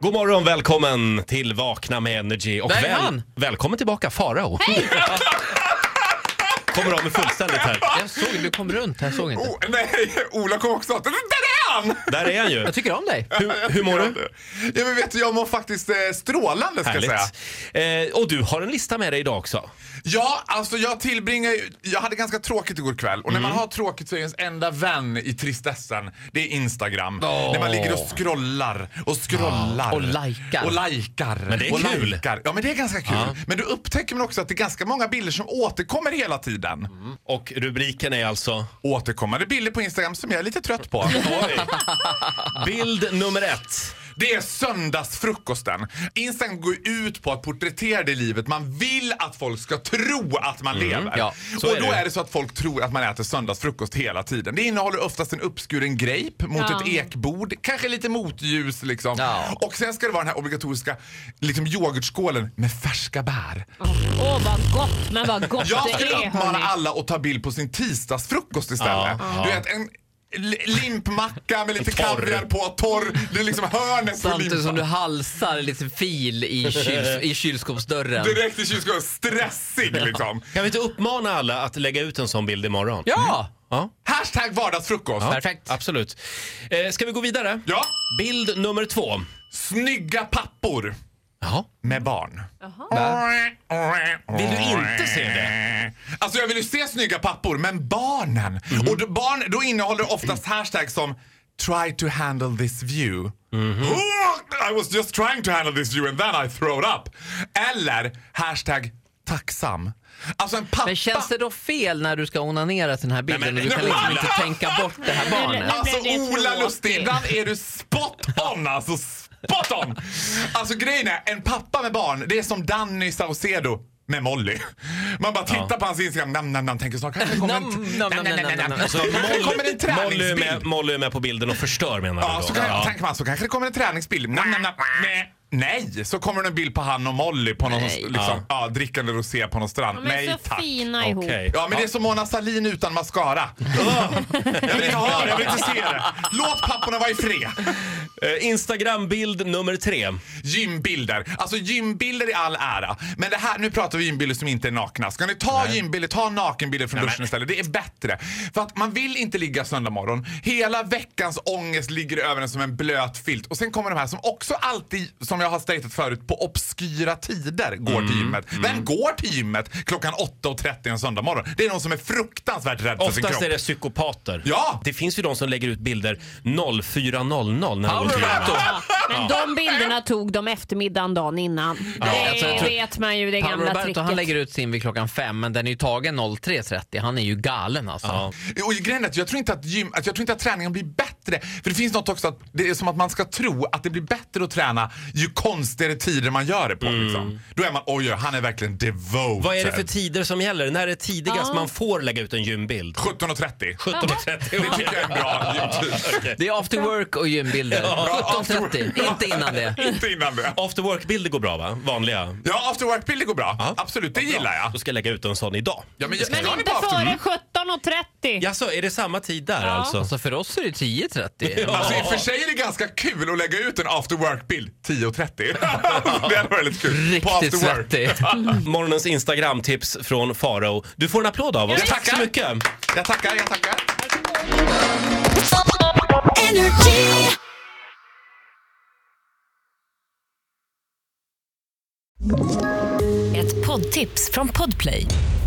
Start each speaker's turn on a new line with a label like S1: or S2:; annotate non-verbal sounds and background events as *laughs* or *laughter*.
S1: God morgon, välkommen till Vakna med Energy. Och
S2: Där är han.
S1: välkommen tillbaka Farao. Hej! Kommer av med fullständigt här.
S2: Jag såg, du kom runt, jag såg inte.
S3: Oh, nej, *laughs* Ola kom också. Där är han!
S1: Där är han ju.
S2: Jag tycker om dig.
S1: Hur, hur mår du?
S3: Ja, men vet du, jag mår faktiskt eh, strålande ska jag säga.
S1: Härligt. Eh, och du har en lista med dig idag också.
S3: Ja, alltså jag tillbringar ju... Jag hade ganska tråkigt igår kväll och när man har tråkigt så är ens enda vän i tristessen, det är Instagram.
S2: Åh. Ah,
S3: När man ligger och scrollar och scrollar.
S2: Och likar.
S3: Och likar.
S1: Men det är
S3: och
S1: kul.
S3: Likar. Ja, men det är ganska kul. Men då upptäcker man också att det är ganska många bilder som återkommer hela tiden.
S1: Och rubriken är alltså
S3: Återkommande bilder på Instagram som jag är lite trött på.
S1: bild nummer ett.
S3: Det är söndagsfrukosten. Instagram går ut på att porträttera det livet man vill att folk ska tro att man lever.
S2: ja,
S1: Mm. så
S3: och
S1: är
S3: då
S1: det.
S3: är det så att folk tror att man äter söndagsfrukost hela tiden. Det innehåller oftast en uppskuren grape mot
S4: Ja.
S3: ett ekbord, kanske lite motljus liksom.
S2: Ja.
S3: Och sen ska det vara den här obligatoriska liksom, yoghurtskålen med färska bär.
S4: Åh vad gott, men vad gott
S3: Jag
S4: det
S3: skulle
S4: är
S3: uppmana
S4: hörni.
S3: alla att ta bild på sin tisdagsfrukost istället.
S1: Ja,
S3: Du
S1: ja.
S3: vet, en li- limpmacka med lite
S1: Torr.
S3: kaviar på, torr. Det är liksom hörnet på
S2: Samtidigt
S3: limpan.
S2: som du halsar lite fil i,
S3: *laughs*
S2: kyls, i kylskåpsdörren.
S3: Direkt i kylskåpet. Stressig liksom.
S1: Kan vi inte uppmana alla att lägga ut en sån bild imorgon?
S3: Mm.
S2: Ja!
S1: Ja,
S3: Hashtag vardagsfrukost. Ja.
S2: Perfekt.
S1: absolut. Eh, ska vi gå vidare? Bild nummer två.
S3: Snygga pappor
S1: Jaha.
S3: med barn.
S1: Vill du inte se
S3: det? Alltså jag vill ju se snygga pappor, men barnen.
S1: Mm.
S3: Och då, barn, då innehåller oftast hashtags som Try to handle this view.
S1: Mm-hmm.
S3: Oh, I was just trying to handle this view and then I throwed up. Eller hashtag tacksam. Alltså en pappa...
S2: Men känns det då fel när du ska onanera till den här bilden
S1: Nej, men-
S2: och du kan
S3: Nej,
S2: liksom
S3: men-
S2: inte tänka bort det här barnet?
S4: Nej,
S3: Alltså
S4: men det är
S3: Ola
S4: tråkigt.
S3: Lustig, ibland är du spot on alltså. Spot on! Alltså grejen är, en pappa med barn, det är som Danny Saucedo med Molly. Man bara tittar på hans Instagram, nam, nam, nam, tänker snart kanske kommer en...
S2: Nam, nam, nam,
S3: nam, nam,
S2: nam,
S3: nam,
S2: nam.
S3: nam.
S1: Så
S3: Kanske kommer
S1: Molly,
S3: en
S1: Molly, är
S3: träningsbild.
S1: med, Molly är med på bilden och förstör menar du
S3: Ja,
S1: då?
S3: så kan, tänker man så kanske det kommer en träningsbild. Nam, nam, nam, nej. Nej, så kommer det en bild på han och Molly på någon
S2: Nej.
S3: liksom, ja. drickande rosé på någon strand.
S4: De
S3: Nej
S4: är så
S3: tack.
S4: fina ihop.
S1: Okej.
S3: Ja, men det är som Mona Sahlin utan mascara. Ugh. jag vill inte ha det, jag vill inte se det. Låt papporna vara i fred.
S1: Eh, Instagram-bild nummer tre.
S3: Gymbilder. Alltså gymbilder i all ära. Men det här, nu pratar vi gymbilder som inte är nakna. Ska ni ta gymbilder, ta nakenbilder från duschen istället. Det är bättre. För att man vill inte ligga söndag morgon. Hela veckans ångest ligger över en som en blöt filt. Och sen kommer de här som också alltid, som jag har statat förut, på obskyra tider går till gymmet. Vem går till gymmet klockan 8.30 en söndag morgon? Det är någon som är fruktansvärt rädd för sin kropp.
S1: Oftast är det psykopater.
S3: Ja!
S1: Det finns ju de som lägger ut bilder 04.00 när de går till
S2: Paolo!
S1: gymmet.
S4: Men de bilderna tog de eftermiddagen dagen innan. Det
S2: alltså, jag tror-
S4: vet man ju, det
S2: Paolo
S4: gamla
S2: Roberto han
S4: tricket.
S2: lägger ut sin vid klockan fem men den är ju tagen 03.30. Han är ju galen alltså.
S1: Ja.
S3: Och grejen är att jag tror inte att, gym, att, jag tror inte att träningen blir bättre. För det finns något också att det är som att man ska tro att det blir bättre att träna ju konstigare tider man gör det på. Liksom. Då är man oj, oj, han är verkligen devoted.
S1: Vad är det för tider som gäller? När är tidigast
S4: Ja.
S1: man får lägga ut en gymbild?
S3: 17.30.
S1: 17.30.
S3: Det tycker
S1: *laughs*
S3: jag är en bra gymtid.
S2: Det är after work och gymbilder.
S3: *laughs* Ja, after work.
S2: 17.30, inte innan det.
S3: Inte innan det.
S1: After work-bilder går bra va? Vanliga.
S3: Ja, after work-bilder går bra. Absolut, det gillar jag.
S1: Då ska jag lägga ut en sån idag.
S3: Ja, men jag ska
S4: Men
S3: ni
S4: inte
S3: på after-
S4: före 17.30.
S1: Jaså, är det samma tid där alltså?
S2: Alltså för oss är det
S3: *laughs*
S2: 10.30.
S3: Alltså i och för sig är det ganska kul att lägga ut en after work-bild 10.30. *laughs* det hade varit lite kul. På
S2: Riktigt
S3: after work.
S2: svettig.
S4: Mm.
S1: Morgonens Instagram-tips från Farao. Du får en applåd av oss.
S4: Ja,
S1: Tack så
S3: tackar.
S1: mycket.
S3: Jag tackar, jag tackar.
S5: Ett poddtips från Podplay.